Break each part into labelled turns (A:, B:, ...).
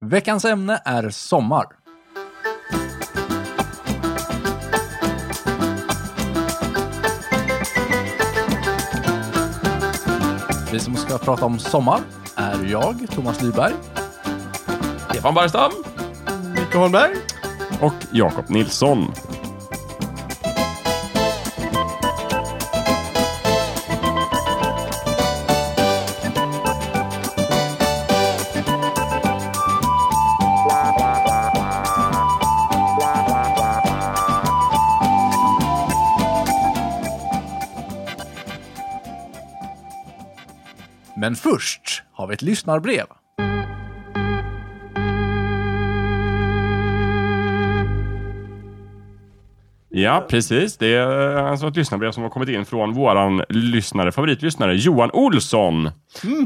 A: Veckans ämne är sommar. Vi som ska prata om sommar är jag, Thomas Lyberg.
B: Stefan Barstam.
C: Micke Holmberg.
B: Och Jakob Nilsson.
A: Men först har vi ett lyssnarbrev.
B: Ja, precis. Det är alltså ett lyssnarbrev som har kommit in från våran lyssnare, favoritlyssnare, Johan Olsson.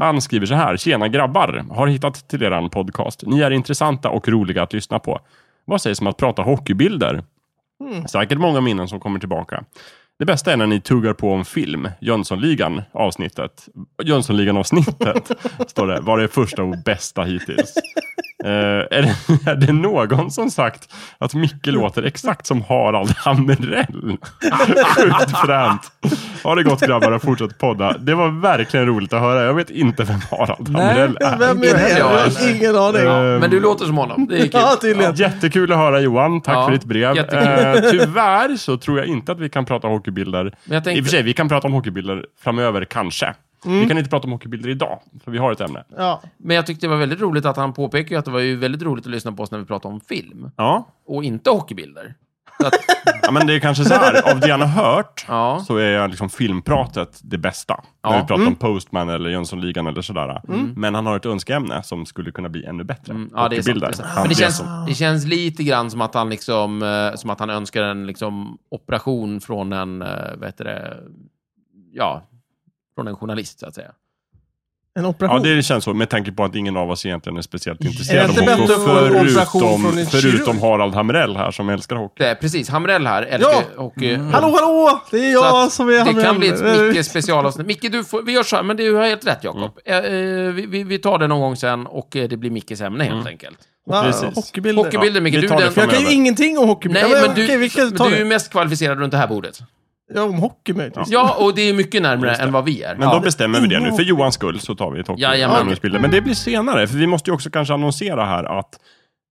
B: Han skriver så här. Tjena grabbar! Har hittat till eran podcast. Ni är intressanta och roliga att lyssna på. Vad sägs om att prata hockeybilder? Säkert många minnen som kommer tillbaka. Det bästa är när ni tuggar på om film, Jönssonligan avsnittet. Jönssonligan avsnittet står det. Var det första och bästa hittills? Eh, är, det, är det någon som sagt att Micke låter exakt som Harald Hamrell? Sjukt fränt. Ha det gott grabbar och fortsätt podda. Det var verkligen roligt att höra. Jag vet inte vem Harald
A: Nej,
B: Hamrell är. Eh,
C: Vem är
D: Inte
C: det?
D: heller
C: Jag
D: jag,
C: har ingen aning. Ja,
D: Men du låter som honom. Det är kul.
C: tydligen.
B: Jättekul att höra Johan, tack
D: Ja,
B: för ditt brev.
D: jättekul.
B: Eh, tyvärr så tror jag inte att vi kan prata hockeybilder.
D: Men jag tänkte- Mm.
B: I och för sig, vi kan prata om hockeybilder framöver kanske. Vi kan inte prata om hockeybilder idag, för vi har ett ämne.
C: Ja.
D: Men jag tyckte det var väldigt roligt att han påpekade ju att det var ju väldigt roligt att lyssna på oss när vi pratade om film.
B: Ja,
D: Och inte hockeybilder. Så att,
B: ja men det är kanske så här, av det han har hört
D: ja.
B: så är liksom filmpratet det bästa.
D: Ja. Mm.
B: När vi pratar om Postman eller Jönssonligan eller sådär. Men han har ett önskeämnet som skulle kunna bli ännu bättre.
D: Mm, Ja, det är sant.
B: Hockeybilder.
D: Det är sant.
B: Han
D: Men det
B: ser
D: känns,
B: som-
D: det känns lite grann som att han, liksom, eh, som att han önskar en liksom, operation från en, eh, vad heter det, ja, från en journalist så att säga.
C: En
B: Ja,
C: operation.
B: det känns så. Med tanke på att ingen av oss egentligen är speciellt
C: Är
B: intresserad
C: det
B: av hockey.
C: inte bättre att få en operation från
B: Förutom,
C: en
B: förutom
C: kirurg?
B: Harald Hamrell här som älskar hockey.
D: Det är precis, Hamrell här älskar
C: Ja! Mm.
D: ju hockey.
C: Hallå, hallå! Det är
D: Så
C: jag
D: att
C: som är
D: Det
C: Hamrell.
D: kan bli ett Micke specialavsnitt. Micke, du får, vi gör så här, men du har helt rätt Jakob. Eh, eh, vi, vi, vi tar det någon gång sen och eh, det blir Mickes ämne helt enkelt.
C: Va?
B: Precis.
C: Hockeybilder.
D: Hockeybilder, Micke,
B: vi
D: du
B: tar det
D: är
C: Jag
D: den...
B: framöver.
C: kan ju ingenting om hockeybilder.
D: Nej, men
C: okej, vi
D: du,
C: kan ta
D: du är ju
C: det.
D: mest kvalificerad runt det här bordet.
C: Ja, om hockey möjligtvis.
D: Ja, och det är mycket närmare än vad vi är.
B: Men
D: ja.
B: då bestämmer vi det nu. För Johans skull så tar vi ett
D: Jajamän.
B: hockeybilder. Men det blir senare. För vi måste ju också kanske annonsera här att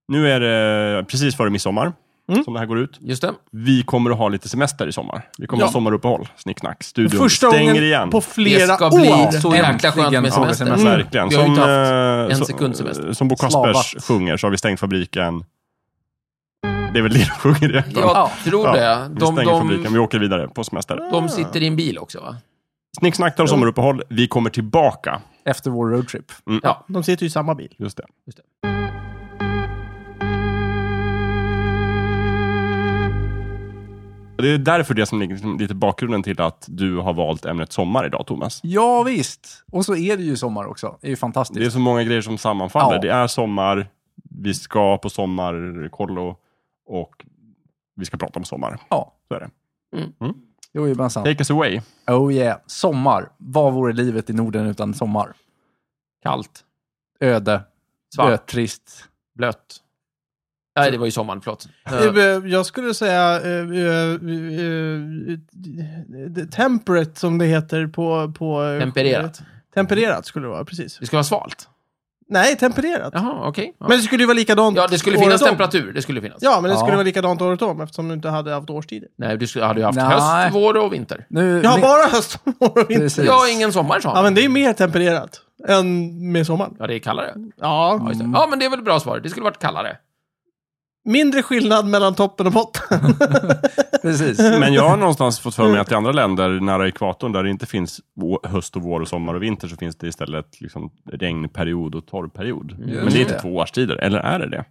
B: nu är det precis före midsommar
C: Mm.
B: som det här går ut.
D: Just det.
B: Vi kommer att ha lite semester i sommar. Vi kommer
C: Ja.
B: ha sommaruppehåll. Snicknack. Studion
C: Första
B: stänger
C: gången
B: igen.
C: på
D: Det
C: flera
D: ska
C: år.
D: bli så jäkla skönt
A: Äntligen
D: med
A: har vi
D: semester.
A: semester.
D: Mm.
B: Verkligen.
D: Vi har ju inte
B: eh,
D: en
B: som-
D: sekund semester.
B: Som Bo Kaspers
A: Slavat.
B: sjunger så har vi stängt fabriken. Det är väl det de sjunger i
D: Jag
B: ja,
D: tror det.
B: Vi
D: De,
B: stänger fabriken,
D: de,
B: vi åker vidare på semester.
D: de sitter i en bil också, va?
B: Snicksnack tar sommaruppehåll, vi kommer tillbaka.
A: Efter vår roadtrip.
D: Ja.
C: De sitter ju i samma bil.
B: Just det.
D: Just det.
B: Och Det är därför det som ligger liksom lite bakgrunden till att du har valt ämnet sommar idag, Thomas.
A: Ja, visst. Och så är det ju sommar också. Det är ju fantastiskt.
B: Det är så många grejer som sammanfaller.
A: Ja.
B: Det är sommar, vi ska på sommarkollo och vi ska prata om sommar.
A: Ja,
B: Så är det.
A: jo, ibland sant.
B: Take us away.
A: Oh yeah. Sommar. Vad vore livet i Norden utan sommar?
D: Kallt,
A: Öde.
D: Svart.
A: Dötrist.
D: blött. Nej, det var ju sommaren, förlåt. Eh,
C: Eh, Jag skulle säga eh, eh, eh, temperate som det heter på... på eh,
D: Tempererat.
C: Tempererat skulle det vara, precis.
D: Det skulle vara svalt.
C: Nej, tempererat.
D: Jaha, okej. Ja.
C: Men det skulle ju vara likadant
D: Ja, det skulle
C: året
D: finnas
C: om.
D: temperatur. Det skulle finnas.
C: Ja, men det
A: Ja.
C: skulle vara likadant året om eftersom du inte hade haft årstider.
D: Nej, du skulle, hade ju haft
A: Nej.
D: höst, vår och vinter.
A: Nu,
C: Jag har
A: ni-
C: bara höst, vår och vinter.
A: Precis.
D: Ja, ingen sommar, sa
C: Ja,
D: han.
C: men det är ju mer tempererat än med sommaren.
D: Ja, det är kallare. Ja,
C: Ja,
B: Mm.
D: just det. ja, men det är väl ett bra svar. Det skulle varit kallare.
C: mindre skillnad mellan toppen och botten.
A: Precis.
B: Men jag har någonstans fått för mig att i andra länder nära ekvatorn där det inte finns vå- höst och vår och sommar och vinter så finns det istället liksom regnperiod och torrperiod. Men det är inte
A: det.
B: två årstider, eller är det det?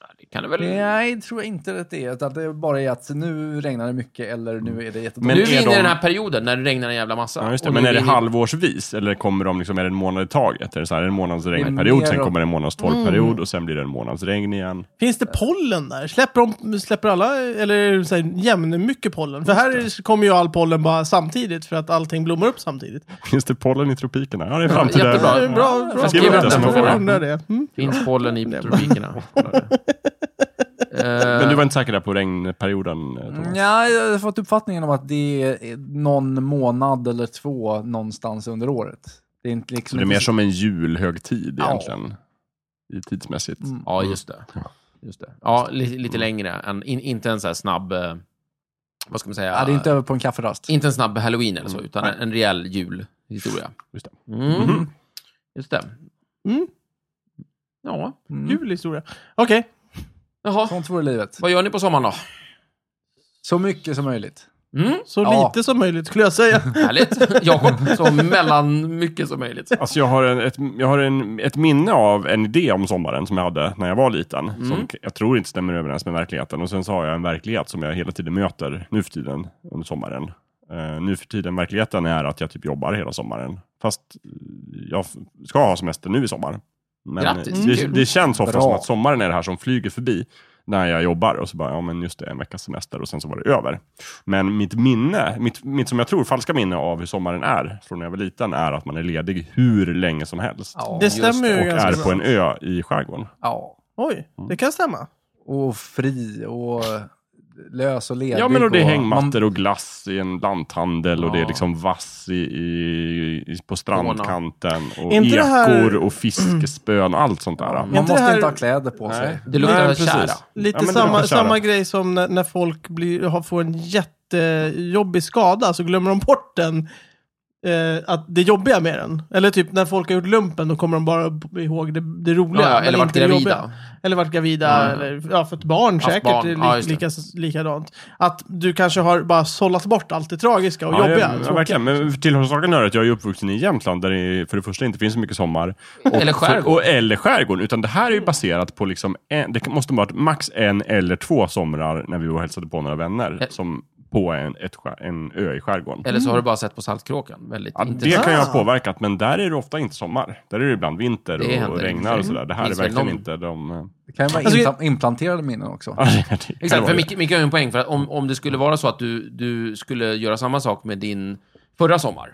D: Ja, det Kan det väl?
A: Nej, tror jag inte att det är. Utan det bara är att nu regnar det mycket eller nu är det
B: Men
D: nu
B: är
A: jättedåligt.
D: är vi inne
B: de-
D: i den här perioden när det regnar en jävla massa.
B: Ja, just det.
D: Och nu
B: Men är
D: vi
B: det
D: inne i-
B: halvårsvis eller kommer de liksom, är det en månad i taget? Är Mm. det så här, en månads regnperiod,
A: mer
B: sen
A: av-
B: kommer det en månads torkperiod och sen blir det en månads regn igen?
C: Finns det pollen där? Släpper, de, släpper alla, eller är det så här, jämn mycket pollen? För här kommer ju all pollen bara samtidigt för att allting blommar upp samtidigt.
B: Finns det pollen i tropikerna? Ja, det är framtida...
D: jättebra.
C: Ja, det är bra, bra.
B: Jag skriver upp det som en
C: Jag
B: fråga.
C: undrar det. Mm.
D: Finns pollen i tropikerna?
B: Men du
D: uh,
B: var inte säker där på regnperioden? eh, Thomas?
A: Mm. Ja, jag har fått uppfattningen om att det är någon månad eller två någonstans under året. Det är inte liksom...
B: Så det är mer
A: inte-
B: som en julhögtid
A: Ja. Mm.
B: egentligen? I tidsmässigt?
D: ja, just det. Just det. Ja, li, lite längre. Än, in, inte en så här snabb... eh, Vad ska man säga?
A: Ja, det är inte över på en kafferast.
D: Inte en snabb halloween eller så,
B: Mm.
D: utan en, en rejäl julhistoria.
B: Just det.
D: Mm.
B: Mhm.
D: Just det.
C: Mm.
D: Ja.
A: Mm.
C: Kul historia. Okej.
D: Jaha,
A: Sånt vore livet.
D: vad gör ni på sommaren då?
A: Så mycket som möjligt.
D: Mm.
C: Så
A: Ja.
C: lite som möjligt skulle jag säga.
D: Härligt. Jakob, så mellan mycket som möjligt.
B: Alltså jag har, en, ett, jag har en, ett minne av en idé om sommaren som jag hade när jag var liten.
D: Mm.
B: Som k- jag tror inte stämmer överens med verkligheten. Och sen så har jag en verklighet som jag hela tiden möter nu för tiden under sommaren. Eh, nu för tiden, verkligheten är att jag typ jobbar hela sommaren. Fast eh, jag f- ska ha semester nu i sommar. Men
D: Grattis,
B: eh, det,
D: kul.
B: det känns ofta
A: Bra.
B: som att sommaren är det här som flyger förbi. När jag jobbar och så bara, ja men just det, en veckas semester och sen så var det över. Men mitt minne, mitt, mitt som jag tror falska minne av hur sommaren är från när jag var liten är att man är ledig hur länge som helst.
A: Ja,
C: Det stämmer
B: Och
C: ju
B: är
C: ganska
B: på
C: bra.
B: en ö i skärgården.
A: Ja.
C: Oj, det kan stämma.
A: Och fri och lös och ledig.
B: Ja, men och det är
A: och-
B: hängmattor och glass i en lanthandel och det är
D: Ja.
B: liksom vass i, i, i, på strandkanten och
C: Inte det här-
B: ekor och fiskespön och allt sånt där. Mm.
A: Man,
C: Är
A: man
C: inte
A: måste
C: det här-
A: inte ha kläder på sig.
D: Det luktar
B: Nej, precis.
D: tjära.
C: Lite
B: Ja, men det
C: samma,
B: luktar tjära.
C: samma grej som när, när folk blir, har, får en jättejobbig skada så glömmer de bort den. Eh, att det jobbiga med den. Eller typ när folk har gjort lumpen då kommer de bara b- ihåg det, det roliga.
D: Ja, ja,
C: men
D: eller varit
C: inte det jobbiga.
D: gravida.
C: Eller varit gravida.
D: Mm.
C: Eller, ja, för ett barn
D: Haft
C: säkert.
D: barn.
C: Barn. Li,
D: Ja, just det.
C: lika, likadant. Att du kanske har bara sållat bort allt det tragiska och
B: Ja,
C: jobbiga.
B: jag, ja,
C: tråkiga.
B: verkligen. Men tillhållssaken är att jag är uppvuxen i Jämtland där det för det första inte finns så mycket sommar. Och,
D: Eller skärgård.
B: För, och, eller skärgården. Utan det här är ju baserat på liksom en, det måste ha varit max en eller två somrar när vi var och hälsade på några vänner.
D: Eh.
B: Som på en, ett, skär- en ö i skärgården.
D: Eller Ah. så
C: Mm.
D: har du bara sett på Saltkråkan. Väldigt
B: Ja, det
D: intressant.
B: kan ju ha påverkat, men där är det ofta inte sommar. Där är det ibland vinter
D: Det
B: och,
D: händer
B: och regnar
D: inte.
B: och sådär. Det här är
D: Finns väl
B: verkligen
D: någon-
B: inte de... eh,
A: Det kan ju vara
C: Alltså,
A: inpla- implanterade minnen också.
B: Ja, det kan
D: Exakt,
B: vara
D: för
B: det.
D: Micke, Micke har ju en poäng. För att om, om det skulle vara så att du, du skulle göra samma sak med din förra sommar,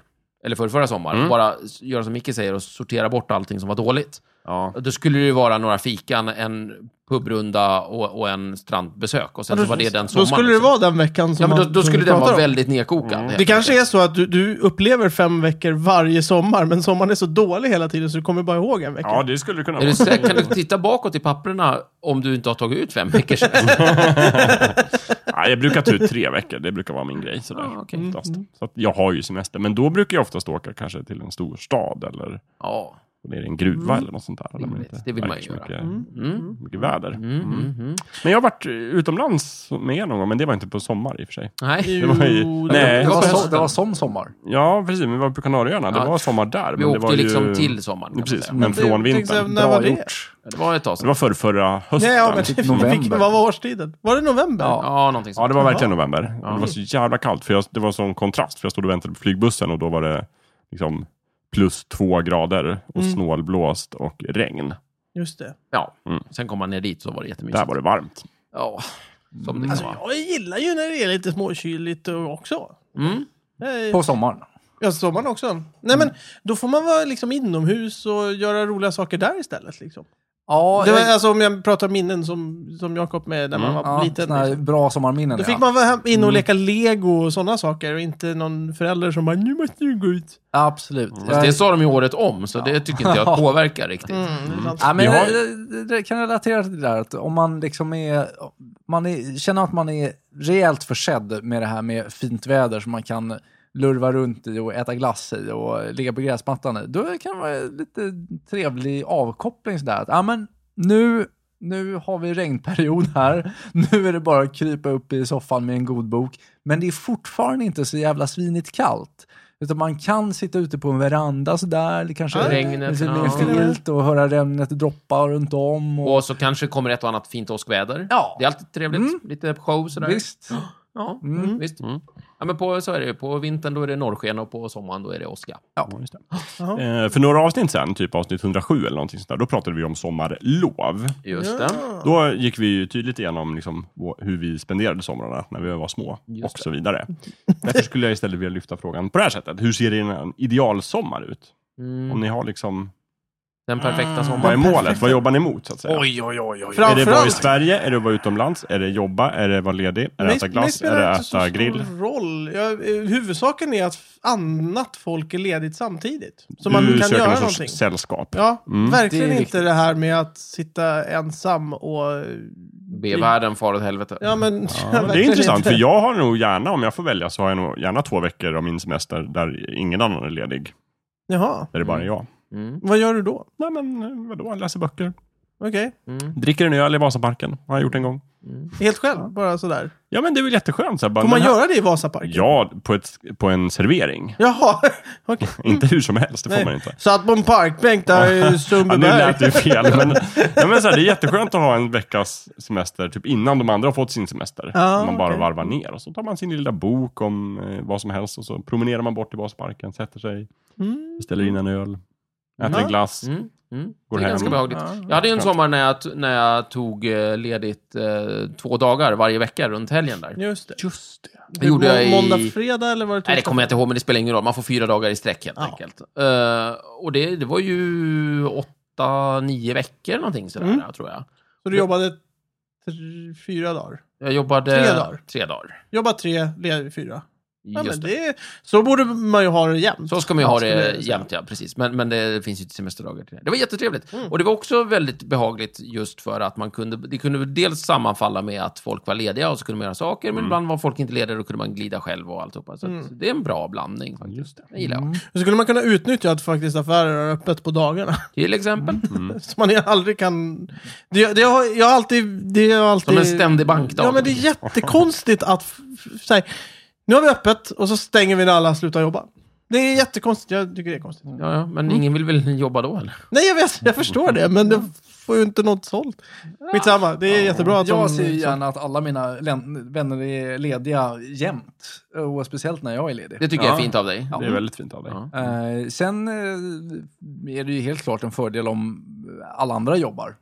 D: eller förra, förra sommar,
C: Mm.
D: bara s- göra som Micke säger och sortera bort allting som var dåligt.
B: Ja.
D: Då skulle det ju vara några fikan, en pubrunda och, och en strandbesök. Och sen så var det den sommaren.
C: Då skulle det
D: liksom.
C: vara den veckan som
D: Ja, men då,
C: man-
D: då
C: som
D: skulle
C: vi
D: den
C: pratar
D: vara
C: om. Mm.
D: väldigt nedkokad. helt
C: Det
D: enkelt.
C: kanske är så att du, du upplever fem veckor varje sommar, men sommaren är så dålig hela tiden så du kommer bara ihåg en vecka.
B: ja, det skulle det kunna
D: Är
B: vara.
D: du säker? Kan du titta bakåt i papperna om du inte har tagit ut fem veckor sedan?
B: Ja, jag brukar ta ut tre veckor, det brukar vara min grej. Sådär,
D: Ah, okej.
B: oftast. Så att jag har ju semester, men då brukar jag oftast åka kanske till en stor stad eller
D: Ja.
B: ner i en gruva eller något sånt där. Där
D: Mm. Rimligt. Det vill
B: verkar
D: man ju
B: så
D: göra.
B: Mycket,
D: Mm.
B: mycket väder.
D: Mm, mm, mm.
B: Men jag har varit eh, utomlands med er någon gång, men det var inte på sommar i och för sig.
D: Nej.
B: Det var ju,
C: Jo, det-
B: nej,
A: Det var,
D: på
A: så,
D: hösten.
A: det var som sommar.
B: ja precis, men vi var på Kanarieöarna.
D: Ja.
B: Det var sommar där.
D: Vi
B: men det
D: åkte
B: var
D: ju
B: ju
D: liksom till sommaren. kan man
B: Precis,
D: säga.
B: men från
C: Det- till exempel,
B: vintern.
C: När var
A: Bra
C: det?
A: gjort.
D: Det var ett tag
B: Det
D: sedan.
B: var förr, förra hösten.
C: Nej, ja, men
A: Typ
C: vi
A: november.
C: fick- Vad var årstiden? Var det november?
D: Ja, någonting
B: Ja,
D: sånt.
B: det var verkligen november. Och Det var så jävla kallt. För jag, det var sån kontrast. För jag stod och väntade på flygbussen och då var det liksom plus två grader och snålblåst och regn.
C: Just det.
D: Ja.
B: Mm.
D: Sen kom man ner dit så var det jättemysigt.
B: Där var det varmt.
D: Ja, som det kan
C: Alltså,
D: vara.
C: jag gillar ju när det är lite småkyligt och också.
D: Mm.
C: Nej,
A: På sommaren.
C: Ja, sommaren också. Nej, men då får man vara liksom inomhus och göra roliga saker där istället. Liksom.
A: Ja,
C: Det var,
A: jag-
C: alltså, om jag pratar minnen som, som Jakob med när man var
A: Mm. ja,
C: liten.
A: såna här
C: liksom.
A: bra sommarminnen.
C: Då
A: ja. Mm.
C: fick man vara hem- inne och leka lego och sådana saker och inte någon förälder som bara nu måste du gå ut.
A: Absolut.
D: Fast det sa de ju året om, så det tycker inte jag påverkar riktigt.
C: Mm, det är sant.
A: Ja, men
B: Vi har-
A: jag, jag, jag kan relatera till det där att om man liksom är, man är, känner att man är rejält försedd med det här med fint väder som man kan lurva runt i och äta glass i och ligga på gräsmattan i, då kan det vara lite trevlig avkoppling sådär. Att, ja, men nu, nu har vi regnperiod här, nu är det bara att krypa upp i soffan med en god bok, men det är fortfarande inte så jävla svinigt kallt. Utan man kan sitta ute på en veranda sådär, det kanske
C: Ja,
A: är
D: Regnet.
A: lite mer
D: Ja.
A: filt och höra regnet droppa runt om. Och,
D: Och så kanske kommer ett och annat fint åskväder.
A: Ja.
D: Det är alltid trevligt.
A: Mm.
D: Lite show sådär.
A: visst.
D: Ja,
A: Mm.
D: visst.
B: Mm.
D: Ja, men på, så är det ju. På vintern då är det norrsken och på sommaren då är det åska.
B: Ja, just det.
C: Jaha.
B: Eh, för några avsnitt sen, typ avsnitt 107 eller någonting sånt där, då pratade vi om sommarlov.
D: Just
C: Ja.
D: det.
B: Då gick vi ju tydligt igenom liksom vå- hur vi spenderade somrarna när vi var små
D: Just
B: och så vidare. Därför skulle jag istället vilja lyfta frågan på det här sättet. Hur ser en idealsommar ut? Om
D: Mm.
B: ni har liksom,
D: Den perfekta
B: vad är
D: sommaren.
B: målet? Vad jobbar ni mot så att säga?
A: Oj, oj, oj, oj.
B: Är det vara i
C: Framförallt-
B: Sverige? Är det att vara utomlands? Är det jobba? Är det vara ledig? Är det
C: Nej,
B: äta
C: nej,
B: glass?
C: spelar
B: Är det
C: inte så
B: äta
C: stor
B: grill?
C: Roll. Ja, eh, huvudsaken är att f- annat folk är ledigt samtidigt. Så
B: du
C: man kan
B: söker
C: göra
B: någon
C: någonting.
B: sorts sällskap.
C: Ja,
B: Mm.
C: verkligen
A: Det är
C: inte det här med att sitta ensam och... eh,
D: Be världen fara åt helvete.
C: Ja, men...
B: Det är intressant, för jag har nog gärna, om jag får välja, så har jag nog gärna två veckor av min semester där ingen annan är ledig.
C: Jaha,
B: Där det bara är jag.
D: Mm.
C: vad gör du då?
B: Nej men eh, vadå, läser böcker.
C: Okej,
D: Mm.
B: Dricker en öl i Vasaparken, har jag gjort en gång.
C: helt själv, bara sådär.
B: Ja men det är väl jätteskönt. Så här, bara,
C: Får man
B: den här-
C: göra det i Vasaparken?
B: Ja, på, ett, på en servering.
C: Jaha, okej.
B: Inte hur som helst, det får
C: Mm. Nej.
B: man inte.
C: Satt på en parkbänk där i
B: Ja, nu
C: Sundbyberg.
B: lät det ju fel. Men, nej, men så här, det är jätteskönt att ha en veckas semester typ innan de andra har fått sin semester.
C: Ja,
B: man bara
C: okej.
B: varvar ner och så tar man sin lilla bok om eh, vad som helst och så promenerar man bort till basparken, sätter sig,
C: Mm.
B: beställer in en öl, äter en
C: Ja.
B: glass.
D: Mm. Mm.
B: Går
D: Det är
B: hem.
D: ganska behagligt.
C: Ja.
D: Jag hade ju en
B: Skönt.
D: sommar när jag, t- när jag tog eh, ledigt eh, två dagar varje vecka runt helgen där.
C: Just det.
B: Just det.
D: Det gjorde
C: Må-
D: jag i-
C: Måndag, fredag eller var det
D: Nej, det kommer jag inte ihåg, men det spelar ingen roll. Man får fyra dagar i sträck helt
C: Ja.
D: enkelt. Eh, och det, det var ju åtta, nio veckor någonting sådär,
C: Mm.
D: tror jag.
C: Så du jobbade tre, fyra dagar?
D: Jag jobbade...
C: Tre dagar.
D: Tre dagar.
C: Jobba tre, ledig fyra. Ja,
D: Just
C: men
D: det.
C: det, så borde man ju ha det jämt.
D: Så ska man ju ha
C: Skulle jag
D: det
C: säga.
D: jämt, ja. Precis. Men, men det finns ju inte semesterdagar till det. Det var jättetrevligt. Och det var också väldigt behagligt just för att man kunde... Det kunde dels sammanfalla med att folk var lediga och så kunde man göra saker, men ibland var folk inte lediga och då kunde man glida själv och alltihopa. Så att det är en bra blandning faktiskt.
B: Just det.
D: Det gillar jag.
C: Så skulle man kunna utnyttja att faktiskt affärer är öppet på dagarna.
D: Till exempel.
C: Så man ju aldrig kan... Det, det har, jag har alltid, det har alltid...
D: Som en ständig bankdag.
C: Ja, men det är jättekonstigt att... f- f- Så här, nu har vi öppet och så stänger vi när alla slutar jobba. Det är jättekonstigt. Jag tycker det är konstigt.
D: Ja, ja, men ingen vill väl jobba då, eller?
C: Nej, jag, vet, jag förstår det, men det får ju inte något sålt. Skitsamma, det är jättebra att
A: Jag
C: de-
A: ser ju gärna att alla mina län- vänner är lediga jämt. Och speciellt när jag är ledig.
D: Det tycker jag är
B: Ja.
D: fint av dig.
B: Det är väldigt fint av dig.
D: Ja.
A: Eh, sen eh, är det ju helt klart en fördel om alla andra jobbar.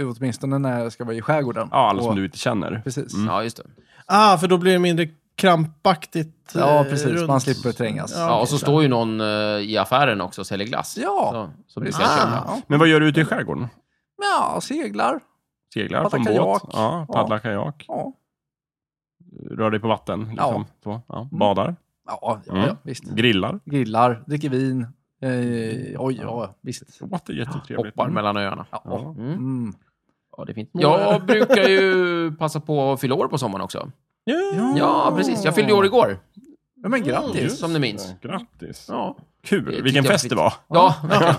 A: Åtminstone när jag ska vara i skärgården.
B: Ja, alla som
A: Och-
B: du inte känner.
A: Precis.
D: Ja, just det.
C: Ah, för då blir det mindre krampaktigt. eh,
A: Ja, precis.
C: runt.
A: Man slipper trängas.
C: Ja.
D: Ja, och så står ju någon eh, i affären också och säljer glass.
A: Ja.
D: Så, så brukar jag köpa.
A: Ah.
B: Men vad gör du ute i skärgården?
A: Ja, seglar.
B: Seglar på
A: Paddla
B: en båt?
A: kajak.
B: Ja, paddlar kajak.
A: Ja,
B: Rör dig på vatten? Liksom. Så, ja.
D: Mm.
B: Badar?
A: ja, ja,
B: Mm.
A: ja visst.
B: Grillar?
A: Grillar, dricker vin. Eh, oj, ja, visst.
B: Åh, Det är jättetrevligt.
D: Hoppar mellan öarna.
A: Ja,
B: Ja.
D: Mm.
A: Mm.
D: Ja, det är fint. Jag brukar ju passa på att fylla år på sommaren också.
A: Ja.
D: Ja, precis. Jag fyllde år igår.
A: Ja, men
B: Mm.
A: grattis.
D: Som ni minns.
B: Grattis.
D: Ja,
B: Kul.
D: Det
B: Vilken
D: tyckte jag
B: fest det var.
D: ja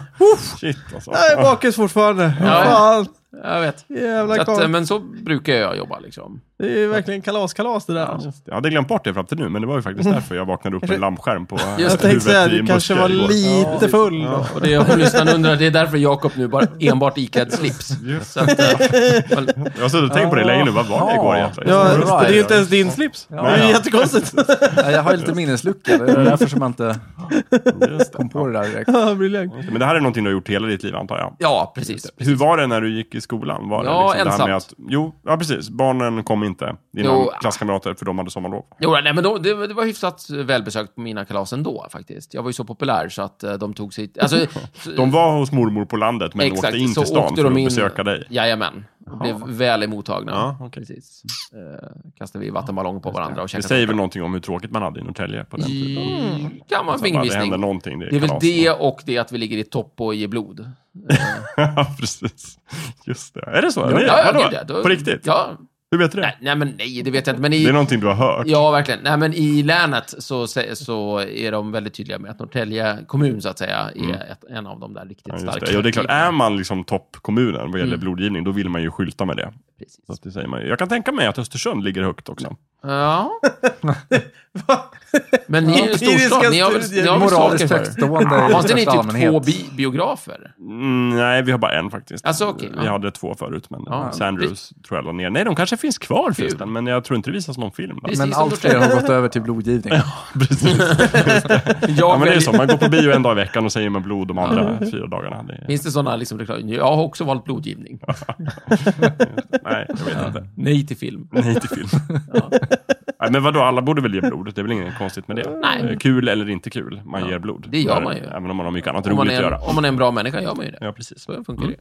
B: Shit alltså.
C: Jag är bakis fortfarande.
D: Ja.
C: Fan,
D: jag vet. Så
C: jävla
D: att, eh,
C: karl.
D: men så brukar jag jobba liksom.
C: Det är verkligen kalaskalas det där.
B: Ja, just det. Jag hade glömt bort det fram till nu, men det var ju faktiskt därför jag vaknade upp med en lampskärm på eh,
C: Jag tänkte säga, du kanske var
A: Ja,
C: lite
A: precis.
C: full.
D: Och det jag lyssnarna undrar, det är därför Jakob nu bara enbart iklädd slips. Så att, eh, men-
B: Jag har suttit och tänkt på det länge nu. Vad var det igår
A: Ja.
B: egentligen?
C: Ja,
A: Ja,
C: just
A: bra
C: det, det är
A: är
C: ju inte
A: det.
C: ens din slips.
A: Ja.
C: Det är ju
B: Nej.
C: jättekonstigt.
A: Ja, jag har ju lite minneslucka. Det är därför som jag inte
B: Just det.
A: kom på det där direkt.
C: Ja, briljant.
B: Men det här är någonting du har gjort hela ditt liv antar jag?
D: ja, precis.
B: Hur var det när du gick i skolan? Var
D: Ja,
B: det liksom Det här med att,
D: ensamt.
B: jo, ja precis. Barnen kom inte. Dina
D: Jo.
B: klasskamrater, för de hade sommarlov.
D: Jo, nej, men då, det, det var hyfsat välbesökt på mina kalas ändå faktiskt. Jag var ju så populär så att eh, de tog sig... Alltså,
B: De var hos mormor på landet, men
D: Exakt,
B: åkte in
D: så
B: till stan
D: åkte
B: för
D: de
B: att
D: in-
B: besöka dig.
D: Jajamän. Och Blev väl emottagna.
B: Ja, okej.
D: Precis. Eh, kastade vi vattenballong på varandra och
B: Det
D: käkade...
B: säger väl någonting om hur tråkigt man hade i Norrtälje på den tiden.
D: Mm, Kan man
B: Så Alltså, bara, Det hände
D: fingervisning.
B: någonting. Det är,
D: Det är väl
B: kalas.
D: det och det att vi ligger i topp och ger blod.
B: Ja, precis. Just det. Är det så? Ni-
D: ja,
B: vadå?
D: gud, ja. Då-
B: På riktigt?
D: Ja.
B: Hur vet du det?
D: Nej, nej, men nej, det vet jag inte. Men
B: Det är
D: i,
B: någonting du har hört.
D: ja, verkligen. Nej, men i länet så, sä- så är de väldigt tydliga med att Norrtälje kommun, så att säga, är ett, en av de där riktigt
B: Mm. Ja, just
D: starka.
B: det. Ja, det är klart, är man liksom toppkommunen vad gäller
D: Mm.
B: blodgivning, då vill man ju skylta med det.
D: Precis.
B: Så att det säger man ju. Jag kan tänka mig att Östersund ligger högt också.
D: Ja,
C: Va?
D: men ni är ju en
C: Empiriska
D: storstad. Ni har väl,
C: studier.
D: ni har väl saker
A: Moraliskt
D: för
A: högstående i
D: Har inte ni
A: största
D: typ
A: allmänhet.
D: två bi biografer?
B: Mm, nej, vi har bara en faktiskt.
D: Alltså, okej,
B: vi
D: ja.
B: hade två förut, men
D: Ja.
B: Sandrews tror jag la ner. Nej, de kanske finns kvar förresten, men jag tror inte det visas någon film. Där.
D: Precis.
A: Men
D: som
A: allt fler har gått över till blodgivning.
B: Precis. Ja,
D: Jag
B: men det är
D: väljer-
B: så. Man går på bio en dag i veckan och säger man blod de andra fyra dagarna. Det är,
D: Finns det sådana liksom reklam? Jag har också valt blodgivning.
B: nej, jag vet inte.
D: Nej till film.
B: Nej till film. Nej, men vadå, alla borde väl ge blod? Det är väl inget konstigt med det?
D: Nej.
B: Eh, Kul eller inte kul, man ger blod.
D: det gör
B: För-
D: man ju.
B: Även om man har mycket annat
D: Om man,
B: roligt att
D: är en,
B: göra.
D: om man är en bra människa gör man ju det.
B: Ja, precis. Mm.
D: Så funkar det.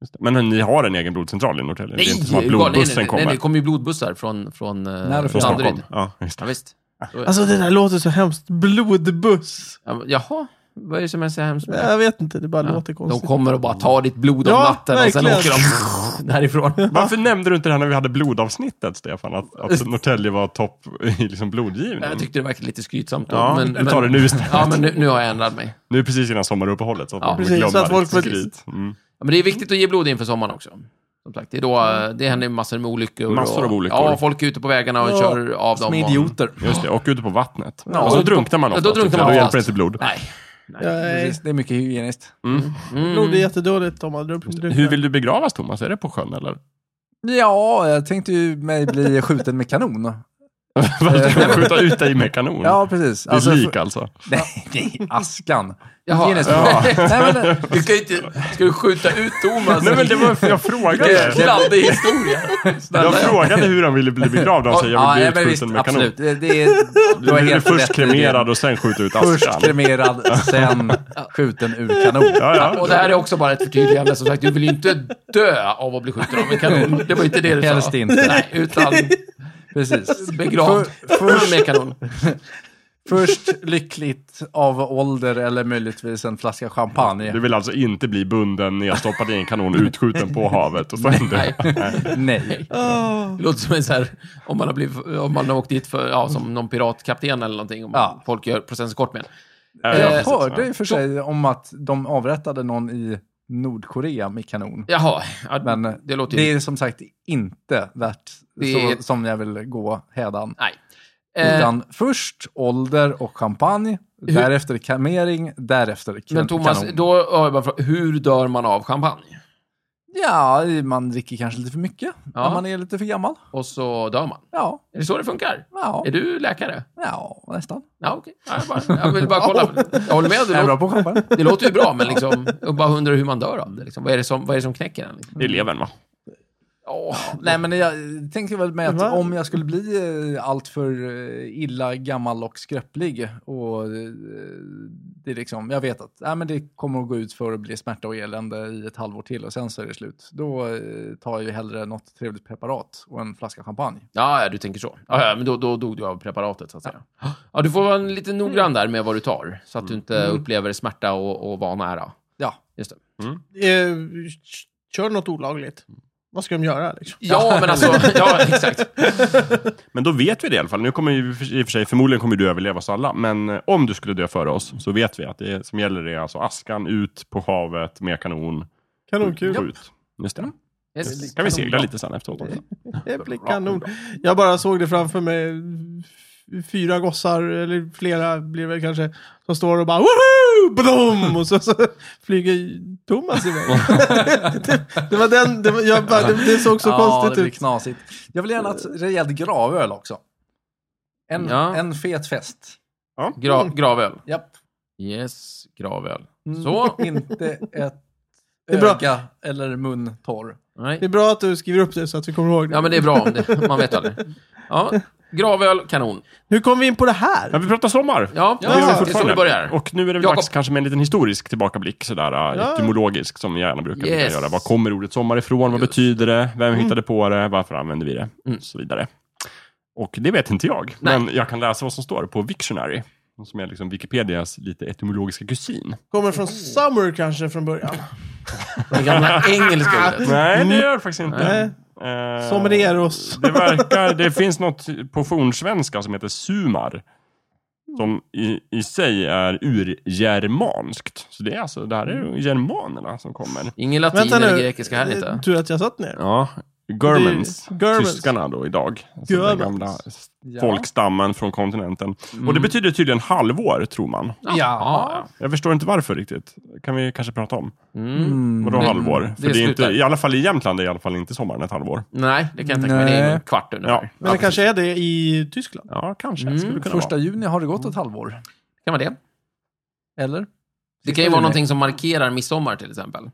B: Just det. Men ni har en egen blodcentral i Norrtälje? det är inte som att
D: ju galen- nej,
B: blodbussen
D: nej,
B: kommer
D: nej, det kommer ju blodbussar från, från, eh,
A: Nej, det
B: från
A: från
B: Stockholm? Ja, just
D: Ja,
B: det.
D: visst. Så-
C: Alltså det där låter så hemskt. Blodbuss.
D: ja, men- jaha, vad är det som är så hemskt med det?
C: Jag vet inte, det bara låter
D: De
C: konstigt.
D: kommer och bara tar ditt blod om
C: Ja,
D: natten och sen åker
C: verkligen.
D: de därifrån.
B: Varför nämnde du inte det här när vi hade blodavsnittet, Stefan? Att, att Norrtälje var topp i liksom blodgivning?
D: Jag tyckte det verkade lite skrytsamt då.
B: Ja,
D: men,
B: vi tar det
D: men,
B: nu istället.
D: ja, men nu, nu har jag ändrat mig.
B: Nu är det precis innan sommaruppehållet, så att
D: Ja,
B: man
C: precis,
B: glömmer
C: så att folk
B: lite
C: får-
B: skryt. Mm.
D: Ja, men det är viktigt att ge blod inför sommaren också. Som sagt, det, är då, eh, det händer massor med olyckor.
B: Massor
D: och,
B: av olyckor.
D: Ja, folk är ute på vägarna och
A: Ja,
D: kör av dem.
A: Som
D: och-
A: idioter.
B: Just det, och ute på vattnet.
A: Ja,
B: och så
D: och-
B: drunknar man
D: ja,
B: ofta.
D: då drunknar man
B: då hjälper
D: fast.
B: inte blod.
D: Nej.
C: Nej,
A: Precis, det är mycket hygieniskt.
C: blod är
D: Mm.
C: jättedåligt om man drunknar.
B: Hur vill du begravas, Thomas? Är det på sjön, eller?
A: Ja, jag tänkte ju mig bli skjuten med kanon.
B: Varför ska man skjuta ut dig med kanon?
A: Ja, precis.
B: det är
A: Alltså,
B: lik alltså.
A: Nej, nej, askan.
D: Jaha.
A: Hygieniskt.
B: Ja.
A: Nej, men,
D: Du ska, ju inte, ska du skjuta ut Thomas?
B: Nej, men det var, jag frågade.
D: Kladdig historia.
B: Jag frågade hur han ville bli begravd. Han säger jag vill
A: ja,
B: bli
A: men visst,
B: utskjuten med kanon.
A: absolut. Det, det är, du
B: Du
A: har
B: blir
A: helt
B: först
A: rätt i det.
B: kremerad och sen skjuta ut
A: Först
B: askan.
A: kremerad, sen skjuten ur kanon.
B: Ja, ja.
D: Och det här är också bara ett förtydligande. Som sagt, du vill ju inte dö av att bli skjuten av en kanon. Det var inte det du sa.
A: Helst inte.
D: Nej, utan
A: Precis.
D: begravd
A: först-
D: med kanon.
A: Först lyckligt av ålder eller möjligtvis en flaska champagne.
B: Du vill alltså inte bli bunden, nedstoppad i en kanon, utskjuten på havet och sen dö.
D: Nej.
A: Nej.
C: Åh.
D: Det låter som en så här, om man har, blivit, om man har åkt dit för, ja, som någon piratkapten eller någonting. Om
A: Ja.
D: Folk gör processen kort med en.
B: Ja,
D: Eh,
B: alltså ja,
A: Jag
B: precis.
A: hörde i och för sig om att de avrättade någon i Nordkorea med kanon.
D: Jaha, ja,
A: Men
D: det låter ju...
A: det är som sagt inte värt
D: Det är-
A: så, som jag vill gå hädan.
D: Nej. Eh,
A: Utan först ålder och champagne, därefter kamering, därefter kan-
D: men Thomas,
A: kanon.
D: då har jag bara frågat, hur dör man av champagne?
A: Ja, man dricker kanske lite för mycket
D: Ja.
A: när man är lite för gammal.
D: Och så dör man.
A: Ja,
D: Är det så det funkar?
A: ja,
D: Är du läkare?
A: ja nästan.
D: Ja, okej. Ja, jag, bara, jag vill bara kolla. Jag håller med.
A: Jag är
D: Det
A: bra på
D: låter,
A: champagne.
D: det låter ju bra, men liksom, jag bara undrar hur man dör av det. Liksom. Vad, är det som, vad är det som knäcker en? Liksom?
B: Det är levern va?
D: Åh,
A: Nej, men jag tänker väl med
C: Va?
A: att om jag skulle bli eh, alltför eh, illa gammal och skröplig och eh, det är liksom, jag vet att nej, men det kommer att gå ut för att bli smärta och elände i ett halvår till och sen så är det slut. Då eh, tar jag ju hellre något trevligt preparat och en flaska champagne.
D: Ja, ja, du tänker så. Ja, ja, men då, då dog du av preparatet, så att säga. Ja, du får vara lite noggrann där med vad du tar, så att du inte upplever smärta och, och vara nära.
A: Ja,
D: Just det.
C: Eh, Kör något olagligt. Vad ska de göra liksom?
D: Ja, men alltså... Ja, exakt.
B: Men då vet vi det i alla fall. Nu kommer ju i och för sig, förmodligen kommer du överleva oss alla, men eh, om du skulle dö före oss så vet vi att det som gäller är alltså askan ut på havet med kanon.
A: Mm,
C: Kanonkul.
B: Skjut. Just det.
D: Yes.
B: kan vi segla lite sen efteråt också.
C: Jävla kanon. Jag bara såg det framför mig. Fyra gossar, eller flera blir det väl kanske, som står och bara woho! Blom! Och så, så flyger Thomas iväg. det, det var den, det, var, jag bara, det, det såg så
A: ja det
C: konstigt
A: blir
C: ut.
A: knasigt. Jag vill gärna ha ett rejält gravöl också. En,
D: Ja.
A: en fet fest.
D: Gra, gravöl.
A: Japp.
D: Yes, gravöl.
A: Mm,
D: Så.
A: Inte ett
C: Det är bra.
A: öga eller mun torr.
C: Det
D: Nej.
C: är bra att du skriver upp det så att vi kommer ihåg det.
D: Ja, men det är bra om det. Man vet aldrig. Ja, gravöl, kanon.
C: Hur kom vi in på det här?
B: Ja, vi pratar sommar.
D: Ja,
C: det gör vi
D: det är så
B: fortfarande.
D: det börjar.
B: Och nu är det väl
D: Jakob.
B: dags kanske med en liten historisk tillbakablick, sådär ja. etymologisk, som vi gärna brukar
D: Yes.
B: göra. Var kommer ordet sommar ifrån? Vad
D: Just. Mm.
B: betyder det? Vem hittade på det? Varför använder vi det? Och så vidare. Och det vet inte jag,
D: Nej.
B: men jag kan läsa vad som står på Wiktionary, som är liksom Wikipedias lite etymologiska kusin.
C: Kommer från Summer kanske från början.
D: Det gamla engelska ordet. Mm.
B: Nej, det gör det faktiskt inte.
C: Nej.
B: Eh,
C: Somereros.
B: Det verkar, det finns något på fornsvenska som heter sumar. Som i, i sig är urgermanskt. Så det är alltså, det här är ju germanerna som kommer.
D: Ingen latin eller grekiska här inte.
C: Tur att jag satt ner.
B: Ja, Germans.
C: Det är Germans.
B: Tyskarna då idag. Alltså den
C: Germans. Mm.
B: gamla
A: Ja.
B: folkstammen från kontinenten. Och det betyder tydligen halvår, tror man.
A: Ja.
D: Ja.
B: Jag förstår inte varför riktigt. kan vi kanske prata om.
D: Mm.
B: Vadå
D: Mm.
B: halvår? För
D: Det
B: det är inte,
D: slutar.
B: I alla fall i Jämtland är i alla fall inte sommaren ett halvår.
D: Nej, det kan jag tänka mig. Det är en kvart ungefär.
B: Ja,
C: Men det kanske är det i Tyskland.
B: ja kanske.
D: Mm,
B: Skulle kunna
A: Första
B: vara.
A: juni har det gått ett halvår.
D: Kan vara det.
A: Eller?
D: Det kan ju vara någonting som markerar midsommar till exempel.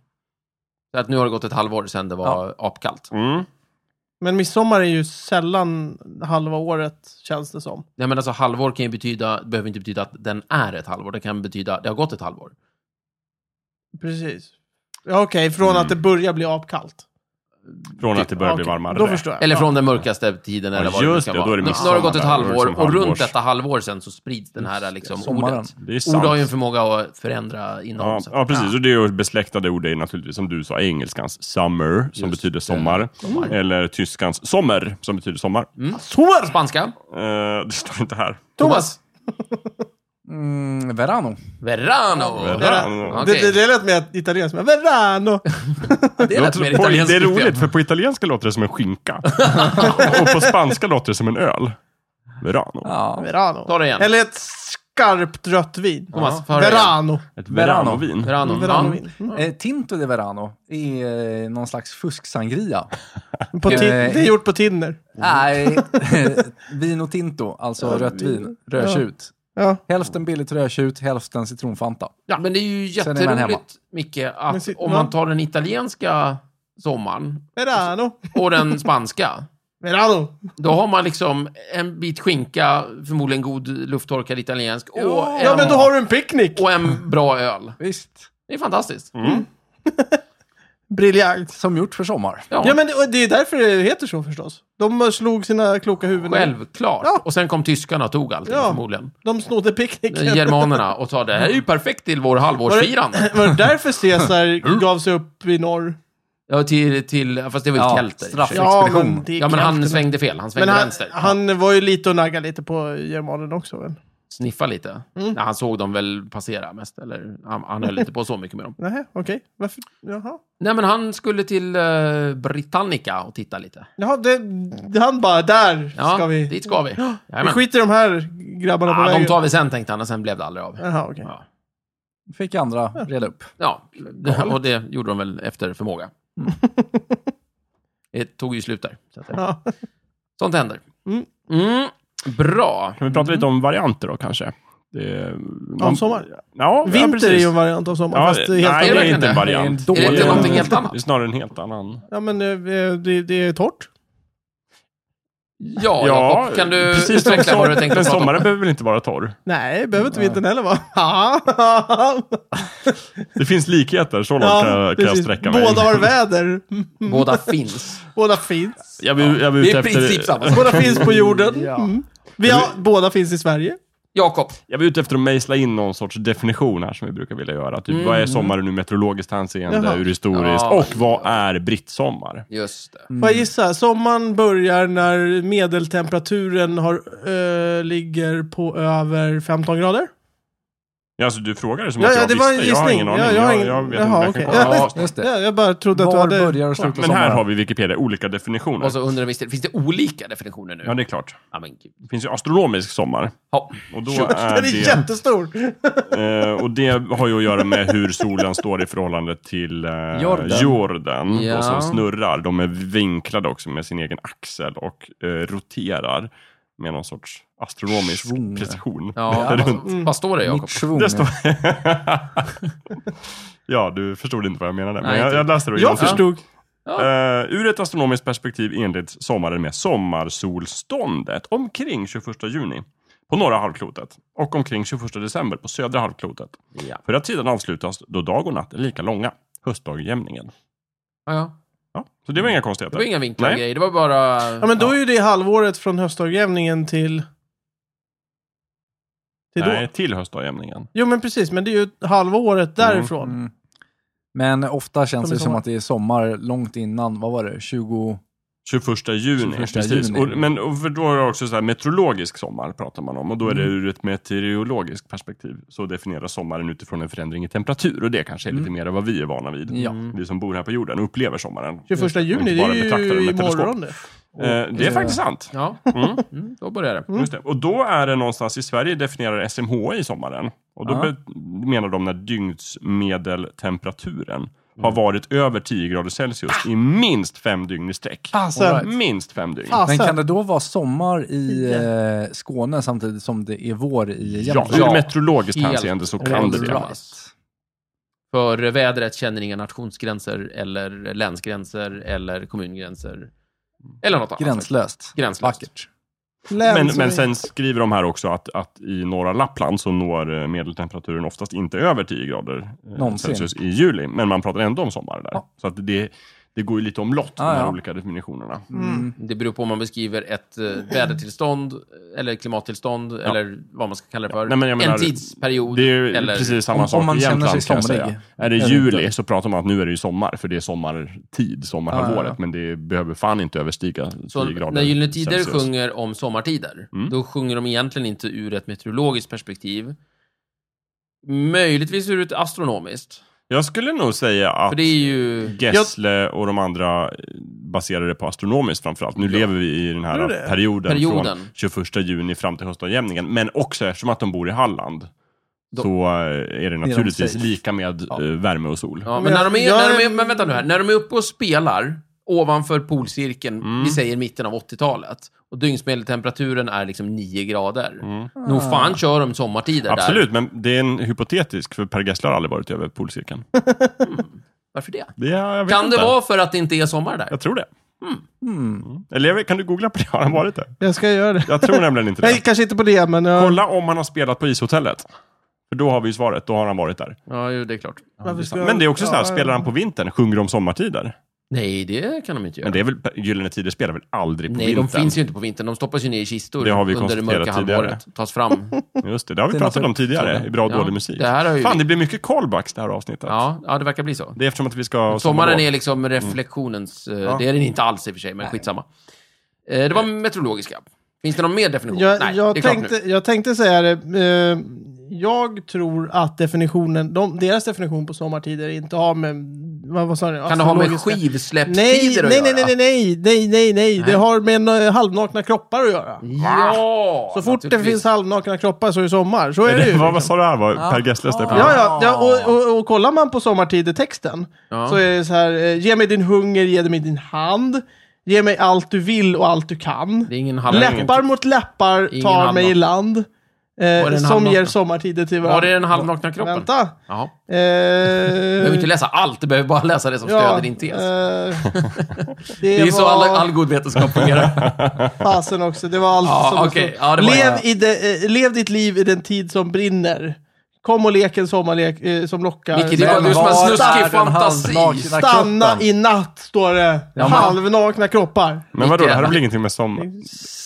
D: Så att nu har det gått ett halvår sedan det var apkallt.
B: Mm.
C: Men midsommar är ju sällan halva året, känns det som.
D: Nej, men alltså halvår kan ju betyda, behöver inte betyda att den är ett halvår. Det kan betyda att det har gått ett halvår.
C: Precis. Ja, Okej, från att det börjar bli apkallt.
B: Från att det Mm. börjar bli
C: Okej,
B: varmare.
C: Då förstår jag.
D: Eller
C: Ja.
D: från den mörkaste tiden
B: Ja,
D: eller vad det nu
B: just
D: kan
B: det, då
D: vara.
B: är det
D: Nu nu har
B: midsommar
D: det gått ett
B: där, då är det
D: halvår
B: liksom
D: och runt
B: halvårs-
D: detta halvår sen så sprids den här liksom,
A: sommaren.
D: ordet.
B: Det är sant.
D: Ord har ju en förmåga att förändra
B: Ja,
D: innehåll. så.
B: ja, precis. Och det är ju besläktade ord är ju naturligtvis, som du sa, engelskans summer, som betyder sommar. Eller tyskans sommer, som betyder sommar.
D: Mm.
C: Sommar!
D: Spanska.
B: Eh, det står inte här.
C: Thomas!
A: Mm, Verano.
D: Verano.
B: Verano.
D: Okej.
C: Det, det, det lät mer italienskt, men Verano!
D: Det lät mer
B: på,
D: italienskt.
B: det är roligt, för på italienska låter det som en skinka. och på spanska låter det som en öl. Verano.
A: Ja.
C: Verano.
D: Ta det igen.
C: Eller ett skarpt rött vin.
D: Thomas, för
C: Verano.
B: Ett
A: Verano.
B: veranovin.
D: Verano.
C: Veranovin.
A: Eh, Tinto de Verano är eh, någon slags fusksangria.
C: På tin-
A: Eh,
C: det är gjort på Tinder.
A: Nej, vin och tinto, alltså rött vin, rödtjut.
C: Ja.
A: Hälften billigt rödtjut, hälften citronfanta.
D: Ja. Men det är ju
A: Sen är man hemma.
D: jätteroligt, Micke, att
C: Men sit-
D: om
C: va?
D: man tar den italienska sommaren
C: Verano.
D: och den spanska,
C: Verano.
D: då har man liksom en bit skinka, förmodligen god lufttorkad italiensk, och, en,
C: Ja, men då har du en picknick.
D: och en bra öl.
A: Visst.
D: Det är fantastiskt.
C: Mm. Briljant.
A: Som gjort för sommar.
D: Ja,
C: Ja, men det, och det är därför det heter så förstås. De slog sina kloka huvuden.
D: självklart.
C: Ja.
D: Och sen kom tyskarna och tog allting,
C: Ja.
D: förmodligen.
C: De snodde picknicken.
D: Germanerna och sa det här är ju perfekt till vår halvårsfirande.
C: Var det därför Caesar gav sig upp i norr?
D: Ja, till, till, fast det var ju
A: Ja,
D: kelter. i och för sig.
A: straff. Ja,
C: det är
D: Ja, men han
C: knappt-
D: svängde fel. Han svängde
C: Men han,
D: vänster.
C: han var ju lite och naggade lite på germanerna också. Väl?
D: sniffa lite. Nej, han såg dem väl passera mest, eller han, han höll inte på så mycket med dem.
C: Nähä, okej. Varför? Jaha.
D: Nej, men han skulle till eh, Britannica och titta lite.
C: Jaha, det, det, han bara, där
D: Ja,
C: ska vi.
D: dit ska vi.
C: vi
D: Jajamän.
C: skiter i de här grabbarna på
D: Ah, de
C: vägen.
D: tar vi sen, tänkte han, och sen blev det aldrig av.
C: Jaha, okej.
D: Ja,
A: Fick andra reda upp.
D: ja. det- och det gjorde de väl efter förmåga. Det tog ju slut där. Så att, det-
C: Ja.
D: sånt händer.
C: Mm.
D: Mm. Bra.
B: Kan vi prata lite om varianter då kanske? Det, man-
C: sommar?
B: Ja, ja,
C: Vinter
B: precis.
C: är ju en variant av sommar.
B: Ja,
C: fast det är
B: nej,
C: helt
B: det
D: annorlunda.
B: är inte en
D: Det är
A: en
B: variant.
A: dålig-
D: Är det
A: Det är-
D: någonting helt annat?
B: Det är snarare en helt annan.
C: Ja, men eh, det, det är torrt.
D: Ja, Jakob, kan du
B: precis som
D: utveckla vad du
B: som-
D: tänkte
B: Men
D: prata om?
B: sommaren behöver väl inte vara torr?
C: Nej, behöver inte vintern heller vara.
B: Det finns likheter, så långt kan, jag, kan jag
C: precis.
B: sträcka eh, mig.
C: Båda har väder. Mm.
D: Mm. Båda finns.
C: Båda finns.
B: jag vill, jag vill
D: Det
B: ut
D: är i
B: efter,
D: princip samma sak.
C: Båda finns på jorden.
A: Ja.
C: Mm. Vi har, båda finns i Sverige.
D: Jakob,
B: Jag var ute efter att mejsla in någon sorts definition här som vi brukar vilja göra. Typ, Vad är sommaren ur meteorologiskt hänseende,
C: Jaha.
B: ur historiskt?
D: Mm. Ja.
B: Och vad är brittsommar?
D: just det.
B: Mm.
C: Får jag gissa? Sommaren börjar när medeltemperaturen har, eh, ligger på över 15 grader.
B: Ja, alltså, du frågar det som
C: Ja,
B: att
C: ja,
B: Mm. jag
C: det var en
B: visste. Jag har
C: gissning.
B: ingen
C: Ja,
B: aning.
C: jag har
B: jag,
C: ingen-
B: jag vet
C: Jaha,
B: inte.
C: okej.
B: Jag kan
C: Ja,
B: komma
C: visst.
A: Just det.
C: Ja, jag bara trodde att du
A: Var
C: hade...
A: börjar och slutar
B: Men här har
A: sommaren?
B: vi Wikipedia, olika definitioner.
D: Och så undrar vi, istället, finns det olika definitioner nu?
B: Ja, det är klart.
D: Ja, men gud.
B: Det finns ju astronomisk sommar.
D: Ja.
B: Och, då
D: Sure.
B: är
C: Den är
B: det,
C: jättestor.
B: eh, och det har ju att göra med hur solen står i förhållande till eh,
A: Jorden.
B: jorden,
D: Ja.
B: och som snurrar. De är vinklade också med sin egen axel och eh, roterar med någon sorts astronomisk
A: Schwung.
B: precision.
D: Ja,
A: Ja.
D: vad- mm. vad står det Jakob?
A: Mitt svung.
B: Det står... ja, du förstod inte vad jag menade. Men
D: Nej,
B: jag,
D: inte.
B: jag läste det.
C: Jag
B: Ja.
C: förstod.
B: Eh, ur ett astronomiskt perspektiv inleds sommaren med sommarsolståndet omkring 21 juni på norra halvklotet och omkring 21 december på södra halvklotet.
D: Ja.
B: För att sedan avslutas då dag och natt är lika långa, höstdagjämningen.
D: Ja, ja.
B: Ja, så det var inga
D: Det
B: konstigheter.
D: var inga vinklar och
B: Nej.
D: grejer, det var bara...
C: Ja, men då är ju det halvåret från höstdagjämningen till... Till då.
B: Nej, till höstdagjämningen.
C: Jo, men precis. Men det är ju halvåret därifrån.
A: Mm. Men ofta känns
C: Som i
A: det som
C: sommar.
A: att det är sommar långt innan, vad var det, 20,
B: 21 juni,
A: 21
B: precis.
A: juni.
B: Och, men och för då är det också så här meteorologisk sommar pratar man om. Och då är det ur ett meteorologiskt perspektiv. Så definieras sommaren utifrån en förändring i temperatur. Och det kanske är lite mer av vad vi är vana vid.
A: Ja.
B: Vi som bor här på jorden och upplever sommaren.
C: 21
B: Och
C: juni,
B: inte
C: det
B: Mm. bara
C: är
B: betraktar den
C: ju
B: med teleskop.
C: imorgon det.
B: Eh, det är faktiskt sant.
D: Ja, mm, då börjar det.
B: Just det. Och då är det någonstans i Sverige definierar SMHI sommaren. Och då
A: Ja.
B: be- menar de när dygnsmedeltemperaturen har varit över 10 grader Celsius i minst fem dygn i sträck.
A: Ah.
C: Fasen.
A: Alright.
B: Minst fem dygn.
A: Men kan
C: Fasen.
A: det då vara sommar i eh, Skåne samtidigt som det är vår i
B: Ja,
A: Jämtland?
B: ur
D: Ja.
B: meteorologiskt
D: Helt
B: hänseende så kan det det.
D: rätt. För vädret känner inga nationsgränser eller länsgränser eller kommungränser. Eller något annat.
A: Gränslöst.
D: Gränslöst.
A: Vackert.
B: Men,
A: Alltså,
C: Länsor.
B: men sen skriver de här också att, att i norra Lappland så når eh, medeltemperaturen oftast inte över 10 grader eh,
A: Någonsin.
B: Celsius i juli. Men man pratar ändå om sommar där.
A: Ja.
B: Så att det, det går ju lite omlott
A: Ah,
B: de här
A: ja.
B: olika definitionerna.
A: Mm.
D: Det beror på om man beskriver ett eh, vädertillstånd eller klimattillstånd eller vad man ska kalla det för.
B: Nej, men jag menar-
D: en tidsperiod.
B: Det är ju
D: eller,
B: precis samma
A: Om-
B: sak
A: om man
B: i
A: känner
B: Jämtland
A: sig
B: kan jag
A: somrig.
B: säga. Är det
A: Eller
B: juli
A: inte.
B: så pratar man att nu är det ju sommar, för det är sommartid, sommarhalvåret.
A: Ja, ja, ja.
B: Men det behöver fan inte överstiga 10
D: så
B: grader
D: när Gyllene Tider
B: Celsius.
D: sjunger om sommartider,
B: Mm.
D: då sjunger de egentligen inte ur ett meteorologiskt perspektiv. Möjligtvis ur ett astronomiskt.
B: Jag skulle nog säga att...
D: För det är ju...
B: Gessle och de andra baserade på astronomiskt framförallt. Nu lever vi i den
C: Gör
B: här
C: det?
B: perioden,
D: Perioden.
B: från 21 juni fram till höstavjämningen. Men också eftersom att de bor i Halland
D: De-
B: så eh, är det naturligtvis
A: safe.
B: lika med eh, värme och sol.
D: Ja,
C: Men
D: men när
C: jag-
D: de är,
C: jag-
D: när de är, men vänta nu här. När de är uppe och spelar ovanför polcirkeln,
B: Mm.
D: vi säger mitten av 80-talet, och dygnsmedeltemperaturen är liksom 9 grader. Nog fan kör de sommartider där.
B: Mm. Absolut, men det är en hypotetisk, för Per Gessle har aldrig varit över polcirkeln.
D: Varför det?
B: Det, jag vet
D: Kan det
B: inte.
D: vara för att det inte är sommar där?
B: Jag tror det. Mm. Eller jag vet, kan du googla på det? Har han varit där?
C: Jag ska göra det.
B: Jag tror nämligen inte
C: Nej,
B: det.
C: kanske inte på det, men... Jag...
B: Kolla om han har spelat på ishotellet. För då har vi ju svaret, då har han varit där.
D: Ja, jo, det är klart.
C: Varför ska jag-
B: Men det är också så här,
C: Ja,
B: spelar han på vintern, sjunger om sommartider?
D: Nej, det kan de inte göra.
B: Men det är väl, Gyllene Tider spelar väl aldrig på
D: Nej,
B: vintern?
D: de finns ju inte på vintern. De stoppas ju ner i kistor
B: Det har vi
D: under det mörka
B: konstaterat tidigare.
D: halvåret. Tas fram.
B: Just det, det har vi
A: Det är
B: pratat om
A: naturligt,
B: tidigare
A: tror
B: i Bra och
D: Ja,
B: dålig musik.
D: det här har ju-
B: Fan, det blir mycket callbacks det här avsnittet.
D: Ja, ja, det verkar bli så.
B: Det är eftersom att vi ska... ha
D: Sommaren
B: sommarlov.
D: är liksom reflektionens... eh, Det är den inte alls i och för sig, men skitsamma. Eh, Det var meteorologiska. Finns det någon mer definition?
C: Jag,
D: Nej, det
C: jag,
D: är klart nu.
C: tänkte, jag tänkte säga det. Eh, jag tror att definitionen, de, deras definition på sommartider inte har med... Vad, vad sa du?
D: Kan det ha med
C: Astrologiska-
D: skivsläppstider
C: Nej,
D: att
C: nej, nej,
D: göra?
C: nej, nej, nej, nej, nej, nej. Det har med eh, halvnakna kroppar att göra.
D: Ja!
C: Så fort det
D: naturligtvis.
C: finns halvnakna kroppar så är det sommar. Så är det ju.
B: Vad, vad sa du här? Var Per Gessles definition?
C: Ja, ja, ja och, och, och kollar man på sommartider-texten
D: Ja.
C: så är det så här, eh, ge mig din hunger, ge mig din hand, ge mig allt du vill och allt du kan.
D: Det är ingen halv...
C: Läppar mot läppar
D: Ingen
C: tar
D: halvnakna.
C: mig i land,
D: Var det
C: eh,
D: en
C: som
D: halvnakna?
C: ger sommartider till
D: Var
C: varandra.
D: det den halvnakna kroppen?
C: Vänta. Eh,
D: Jaha. Du behöver inte läsa allt, du behöver bara läsa det som stöder din tes.
C: eh, det,
D: det är
C: var
D: så all, all god vetenskap fungerar.
C: fasen också. Det var allt
D: Ja,
C: som
D: okej.
C: stod.
D: Ja, det var-
C: lev, i de, eh, lev ditt liv i den tid som brinner. Kom och lek en sommarlek eh, som lockar.
D: Micke, det var
C: Men
D: du som har
C: var
D: snuskig
C: där-
A: är den
D: fantasi.
A: halvnakna
C: Stanna
A: kroppen?
C: i natt, står det.
A: men-
C: Halvnakna kroppar.
B: Men vadå, det här har väl ingenting med sommar...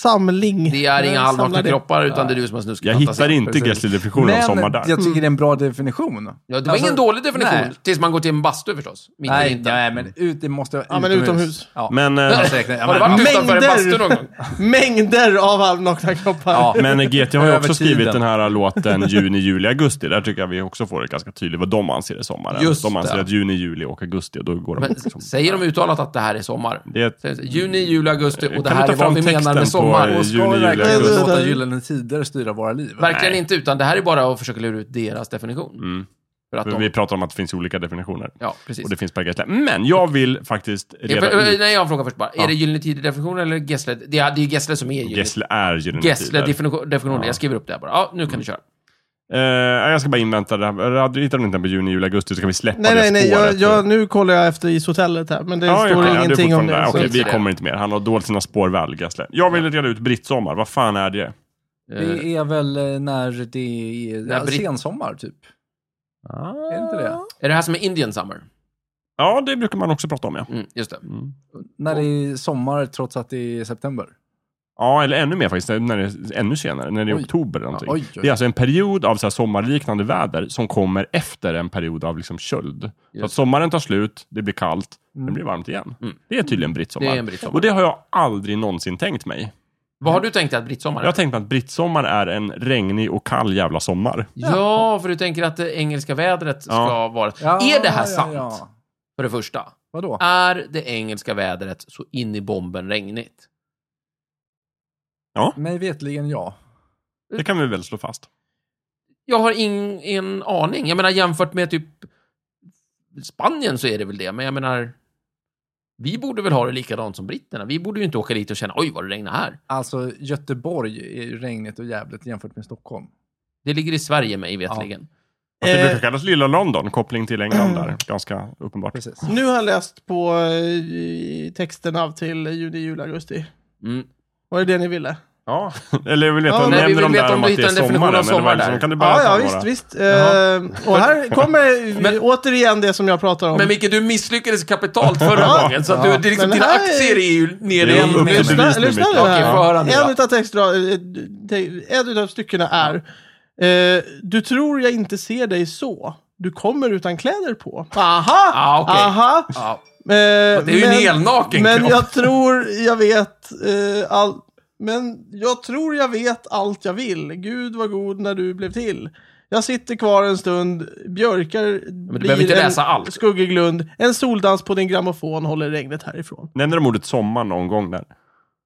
C: Samling.
D: Det är inga
C: Samlar
D: halvnakna
C: det.
D: kroppar, utan det är du som har snuskat.
B: Jag hittar inte
A: precis.
B: Gessles definition av sommar där.
A: jag tycker det är en bra
C: Mm.
A: definition. Alltså,
D: Ja, det var
C: Alltså,
D: ingen dålig definition,
A: nej.
D: tills man går till en bastu förstås. Mitt i
A: Nej,
D: vintern.
A: nej, men ut, det måste vara
C: Ja, men utomhus.
A: Ja.
B: Men, eh,
A: Alltså, jag- ja,
D: Har du
A: men-
D: varit utanför en
C: Mängder!
D: bastu någon gång?
C: Mängder av halvnakna kroppar.
A: Ja.
B: men GT har ju
A: Över
B: också skrivit
A: tiden.
B: den här låten juni, juli, augusti. Där tycker jag vi också får det ganska tydligt vad de anser är sommaren.
D: Just
B: de anser
D: det.
B: att juni, juli och augusti, och då går de...
D: Men,
B: liksom-
D: säger de uttalat att det här är sommar?
B: Det- Mm.
D: Säger de så, Juni, juli, augusti och det
B: Kan du
D: här
B: ta
D: är vad
B: fram
D: vi menar
B: texten
D: med
B: på,
D: sommar.
B: eh,
A: Och
B: Juni,
A: ska
B: juli,
A: vi verkligen
C: augusti.
A: låta Gyllene Tider styra våra liv?
D: Verkligen
B: Nej.
D: inte, utan det här är bara att försöka lura ut deras definition. För att
B: För
D: de,
B: Vi pratar om att det finns olika definitioner.
D: ja, precis.
B: Och det finns Per Gessle. Men jag vill faktiskt
D: Eh,
B: reda
D: för- eh,
B: ut...
D: Nej, jag frågar först bara.
B: Ja.
D: Är det Gyllene Tider-definition eller Gessle? Det är, det är Gessle som är Gyllene
B: Gessle är Gyllene
D: Gessle
B: Tider.
D: definition, definition. Jag skriver upp det här bara. Ja, nu kan du köra.
B: Eh, jag ska bara invänta det här. Hade- Hittar du inte den på juni, juli, augusti så kan vi släppa
C: Nej,
B: det
C: nej, nej. Jag,
B: spåret. eh.
C: jag, nu kollar jag efter ishotellet här, men det
B: Ja, ja,
C: står
B: ja, är
C: ingenting om
B: fortfarande
C: det.
B: där.
C: så-
B: Okej, vi
D: det.
B: kommer inte mer. Han har dolt sina spår väl, Gessle. Jag vill reda ut brittsommar. Vad fan är det?
D: Eh,
A: Det är väl eh, när det är
D: När
A: ja,
D: Brit- Ah.
A: sensommar, typ. Är det inte det?
D: Är det här som är Indian Summer?
B: Ja, det brukar man också prata om, ja.
D: Mm, just det.
A: När det är sommar trots att det är september.
B: Ja, eller ännu mer faktiskt. När det är, ännu senare, när det är
A: Oj.
B: oktober eller någonting.
A: Ja, oj, oj.
B: Det är alltså en period av så här sommarliknande väder som kommer efter en period av liksom köld. Så att sommaren tar slut, det blir kallt, det blir varmt igen. Det är tydligen brittsommar.
D: Det är en brittsommar.
B: Och det har jag aldrig någonsin tänkt mig.
D: Vad har du tänkt att brittsommar
B: Jag har tänkt mig att brittsommar är en regnig och kall jävla sommar.
D: Ja, för du tänker att det engelska vädret ska
B: Ja.
D: vara...
A: Ja,
D: är det här
A: ja,
D: sant?
A: ja.
D: För det första.
A: Vadå?
D: Är det engelska vädret så in i bomben regnigt?
A: Mig vetligen ja.
B: Det kan vi väl slå fast.
D: Jag har ingen aning. Jag menar jämfört med typ Spanien så är det väl det, men jag menar... Vi borde väl ha det likadant som britterna. Vi borde ju inte åka dit och känna oj vad det regnar här.
A: Alltså, Göteborg är ju regnigt och jävligt jämfört med Stockholm.
D: Det ligger i Sverige mig vetligen.
B: Att det
C: Eh.
B: brukar kallas lilla London, koppling till England där. Ganska uppenbart.
A: Precis.
C: Nu har jag läst på eh, texterna till juni, juli, augusti.
D: Mm.
C: Var det det ni ville?
B: Ja, eller jag vill veta,
C: Ja,
B: ja,
C: nej,
D: vi
B: nämner de
D: vill veta
B: där
D: om
B: om
D: du
B: att det
D: hittar
B: är
D: en definition
B: sommaren?
D: av
B: Eller var
D: sommar
B: det
D: där.
B: liksom, kan du bara
C: Ja,
B: ta
C: ja,
B: några?
C: visst, visst. Eh, och här kommer
D: Men-
C: återigen det som jag pratar om.
D: Men Micke, du misslyckades kapitalt förra gången, så att du, det är liksom,
C: Men
D: dina
C: här är-
D: aktier är ju nere
B: Det är upp
D: i...
B: till
D: ner-
B: bevis
C: Lyssna,
B: nu,
C: lyssna
B: Micke.
C: nu
D: Okej, få höra
C: här.
D: nu då.
C: en utav texterna, eh, te- en utav styckena är eh, Du tror jag inte ser dig så. Du kommer utan kläder på. Aha!
D: Ah, okej.
C: Aha!
D: Ja.
C: Eh,
D: Det är ju en helnaken
C: Men
D: kropp.
C: jag tror jag vet eh, all, Men jag tror jag vet allt jag vill. Gud var god när du blev till. Jag sitter kvar en stund, björkar men
D: behöver inte läsa allt.
C: skuggig lund, en soldans på din grammofon håller regnet härifrån.
B: Nämner de ordet sommar någon gång där?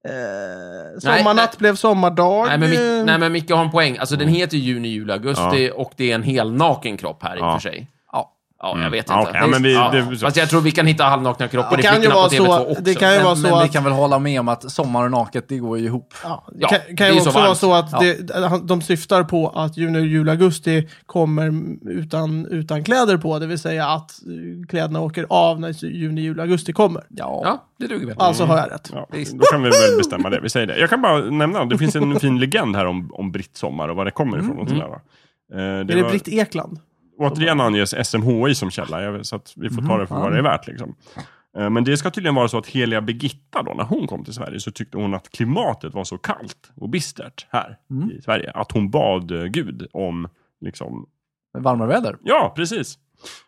C: Eh,
D: Nej,
C: sommarnatt
D: nej.
C: blev sommardag.
D: Nej men, Mic-
C: Eh,
D: nej, men Micke har en poäng. Alltså, den heter juni, juli, augusti och det är en helnaken kropp här i och
B: Ja. Mm.
D: för sig. Ja, ja jag vet
B: Ja,
D: inte.
B: okej. Ja, men vi-
D: Ja.
B: det-
D: Fast jag tror vi kan hitta halvnakna kroppar
C: Det
D: i
C: kan ju
D: fickorna på
C: vara
D: TV2
C: så-
D: också.
C: det kan ju-
A: Men,
C: vara så
A: men vi
C: att-
A: kan väl hålla med om att sommar och naket, det går ju ihop.
C: Ja, det
D: Ja,
C: kan,
D: det
C: kan
D: är
C: ju
D: ju
C: också
D: så
C: vara
D: varmt.
C: så att det, han- de syftar på att juni, juli, augusti kommer utan, utan kläder på. Det vill säga att eh, kläderna åker av när juni, juli, augusti kommer.
D: Ja, det duger väl.
C: Alltså har jag rätt.
B: Ja, då kan vi väl bestämma det. Vi säger det. Jag kan bara nämna, det finns en fin legend här om, om brittsommar och var det kommer ifrån. och sådär, va? Eh, det
C: Mm, Är det
B: var-
C: Britt Ekland?
B: Återigen anges SMHI som källa, jag, så att vi får ta det
C: Mm-hmm.
B: för vad det är värt. Liksom. Eh, Men det ska tydligen vara så att Heliga Birgitta, då, när hon kom till Sverige, så tyckte hon att klimatet var så kallt och bistert här
C: Mm.
B: i Sverige, att hon bad eh, Gud om liksom,
A: Varmare väder.
B: Ja, precis.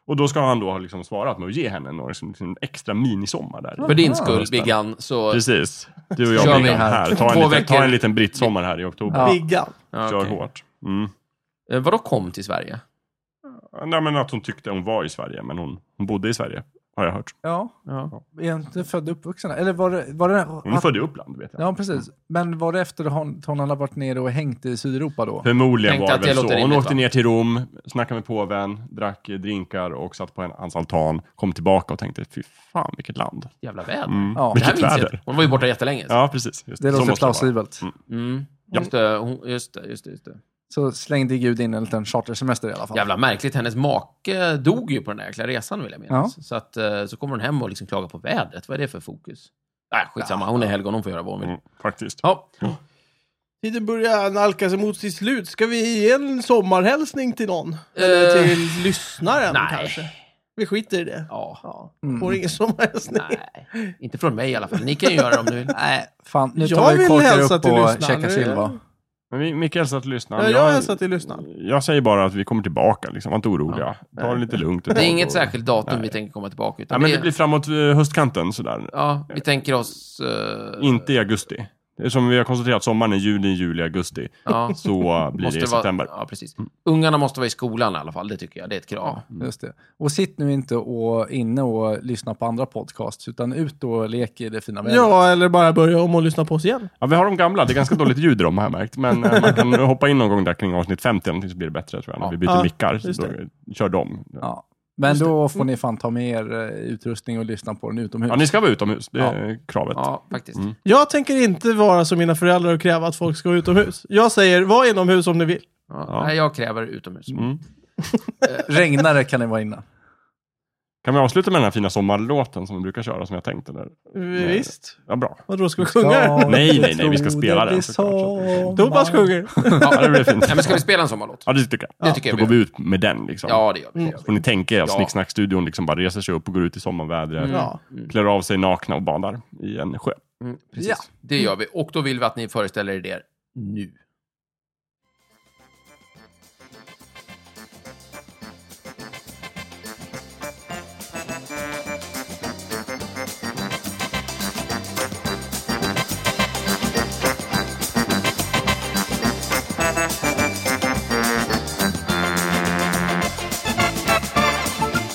B: Och då ska han då ha liksom svarat med att ge henne någon liksom, liksom extra minisommar där.
D: För din
A: Ja,
D: skull,
B: spännande.
D: Biggan, så...
B: Precis. Du och jag
D: Kör
B: Biggan
D: vi
B: här.
A: här.
B: Ta, en
D: Två
B: liten, ta
D: veckor.
B: en liten brittsommar här i oktober.
A: Ja.
C: Biggan.
D: Ja,
B: Kör
D: okej.
B: hårt. Mm.
D: Eh, Vadå kom till Sverige?
B: Nej, men att hon tyckte hon var i Sverige, men hon, hon bodde i Sverige. Har jag hört.
A: Ja.
D: Ja.
A: Är jag inte född och uppvuxen här? Eller var det... Var det
B: Hon är född i Uppland, vet jag.
A: Ja, precis. Men var det efter hon, hon hade varit nere och hängt i Sydeuropa då?
B: Förmodligen
D: Tänkte
B: var
D: att
B: det
D: det
B: väl
D: låter
B: så. Hon
D: rimligt,
B: åkte
D: va?
B: ner till Rom, snackade med påven, drack eh, drinkar och satt på en, hans altan. Kom tillbaka och tänkte, fy fan vilket land.
D: Jävla väder.
B: Mm.
A: Ja.
D: Det här
B: Vilket
D: minns jag.
B: väder.
D: Hon var ju borta jättelänge.
B: Ja, precis. Just
A: Det
B: Så
A: låter
B: måste vara.
A: plausibelt.
D: Mm.
B: Ja.
D: Just, det, hon, just det, just det, just det.
A: Så slängde Gud in en liten chartersemester i alla fall.
D: Jävla märkligt. Hennes make dog ju på den där jäkla resan, vill jag minnas. Så, att, eh, så kommer hon hem och liksom klagar på vädret. Vad är det för fokus? Äh, skitsamma, hon är helgon. Hon får göra vad hon vill.
B: Mm, faktiskt.
D: Ja,
C: Tiden börjar nalkas mot sitt slut. Ska vi ge en sommarhälsning till någon? Eller
D: Eh,
C: till lyssnaren
D: nej.
C: kanske? Vi skiter i det.
D: ja.
C: Ja.
A: Mm.
C: Får ingen sommarhälsning.
D: Nej, inte från mig i alla fall. Ni kan ju göra det om ni vill.
A: Nej, fan. Nu
C: Jag
A: tar vi
C: vill
A: och korkar
C: hälsa
A: upp
C: till
A: och
C: lyssnarna.
A: käkar
C: Nu-
A: sill va?
B: Men vi- Micke hälsar till lyssnaren.
C: Ja, jag hälsar till lyssnaren.
B: Jag säger bara att vi kommer tillbaka, liksom. var inte oroliga. Ta det lite lugnt.
D: Det är inget särskilt datum vi tänker komma tillbaka. Utan
B: Ja, men
D: det,
B: det blir framåt eh, höstkanten sådär.
D: ja, vi tänker oss... eh,
B: Inte i augusti. Det är Som vi har konstaterat, sommaren är juli, juli, augusti.
D: ja,
B: Så eh, blir det i
D: vara-
B: september. Mm.
D: Ja, precis. Ungarna måste vara i skolan i alla fall. Det tycker jag. Det är ett krav.
A: Just det. Och sitt nu inte och inne och lyssna på andra podcasts, utan ut och lek i det fina vädret.
C: Ja, eller bara börja om och lyssna på oss igen.
B: Ja, vi har de gamla. Det är ganska dåligt ljud i dem har jag märkt. Men eh, man kan hoppa in någon gång där kring avsnitt 50 eller någonting så blir det bättre tror jag. När
D: Ja.
B: vi byter
C: Ja,
B: mickar.
C: just
B: Så då, kör dem. Ja.
A: Ja. Men då får ni fan ta med er eh, utrustning och lyssna på den utomhus.
B: ni ska vara utomhus. Det
A: Ja.
B: är kravet.
D: Ja, faktiskt.
B: Mm.
C: Jag tänker inte vara som mina föräldrar och kräva att folk ska vara utomhus. Jag säger, var inomhus om ni vill.
D: Ja.
B: Ja.
D: Nej, jag kräver utomhus.
B: Mm.
A: Regnare kan ni vara inne.
B: Kan vi avsluta med den här fina sommarlåten som vi brukar köra, som jag tänkte? Där?
C: Visst.
B: Ja, bra.
C: Vadå, ska vi sjunga?
A: Ja,
B: Nej, nej,
A: jag
B: nej, vi ska
A: tror
B: spela
A: det
B: den
A: blir
B: såklart.
A: sommar.
C: Thomas
D: Mm.
C: sjunger.
B: Ja, det blir fint.
D: Nej, men ska vi spela en sommarlåt?
B: Ja, det tycker jag.
D: Det tycker jag
B: Då
D: vi
B: går vi ut med den liksom.
D: Ja, det gör vi. Det gör vi.
B: Får ni tänka er att
D: Ja.
B: Snicksnackstudion liksom bara reser sig upp och går ut i sommarvädret,
C: Ja.
B: klär av sig nakna och badar i en sjö.
D: Mm, precis.
A: Ja.
D: Det gör vi. Och då vill vi att ni föreställer er det nu.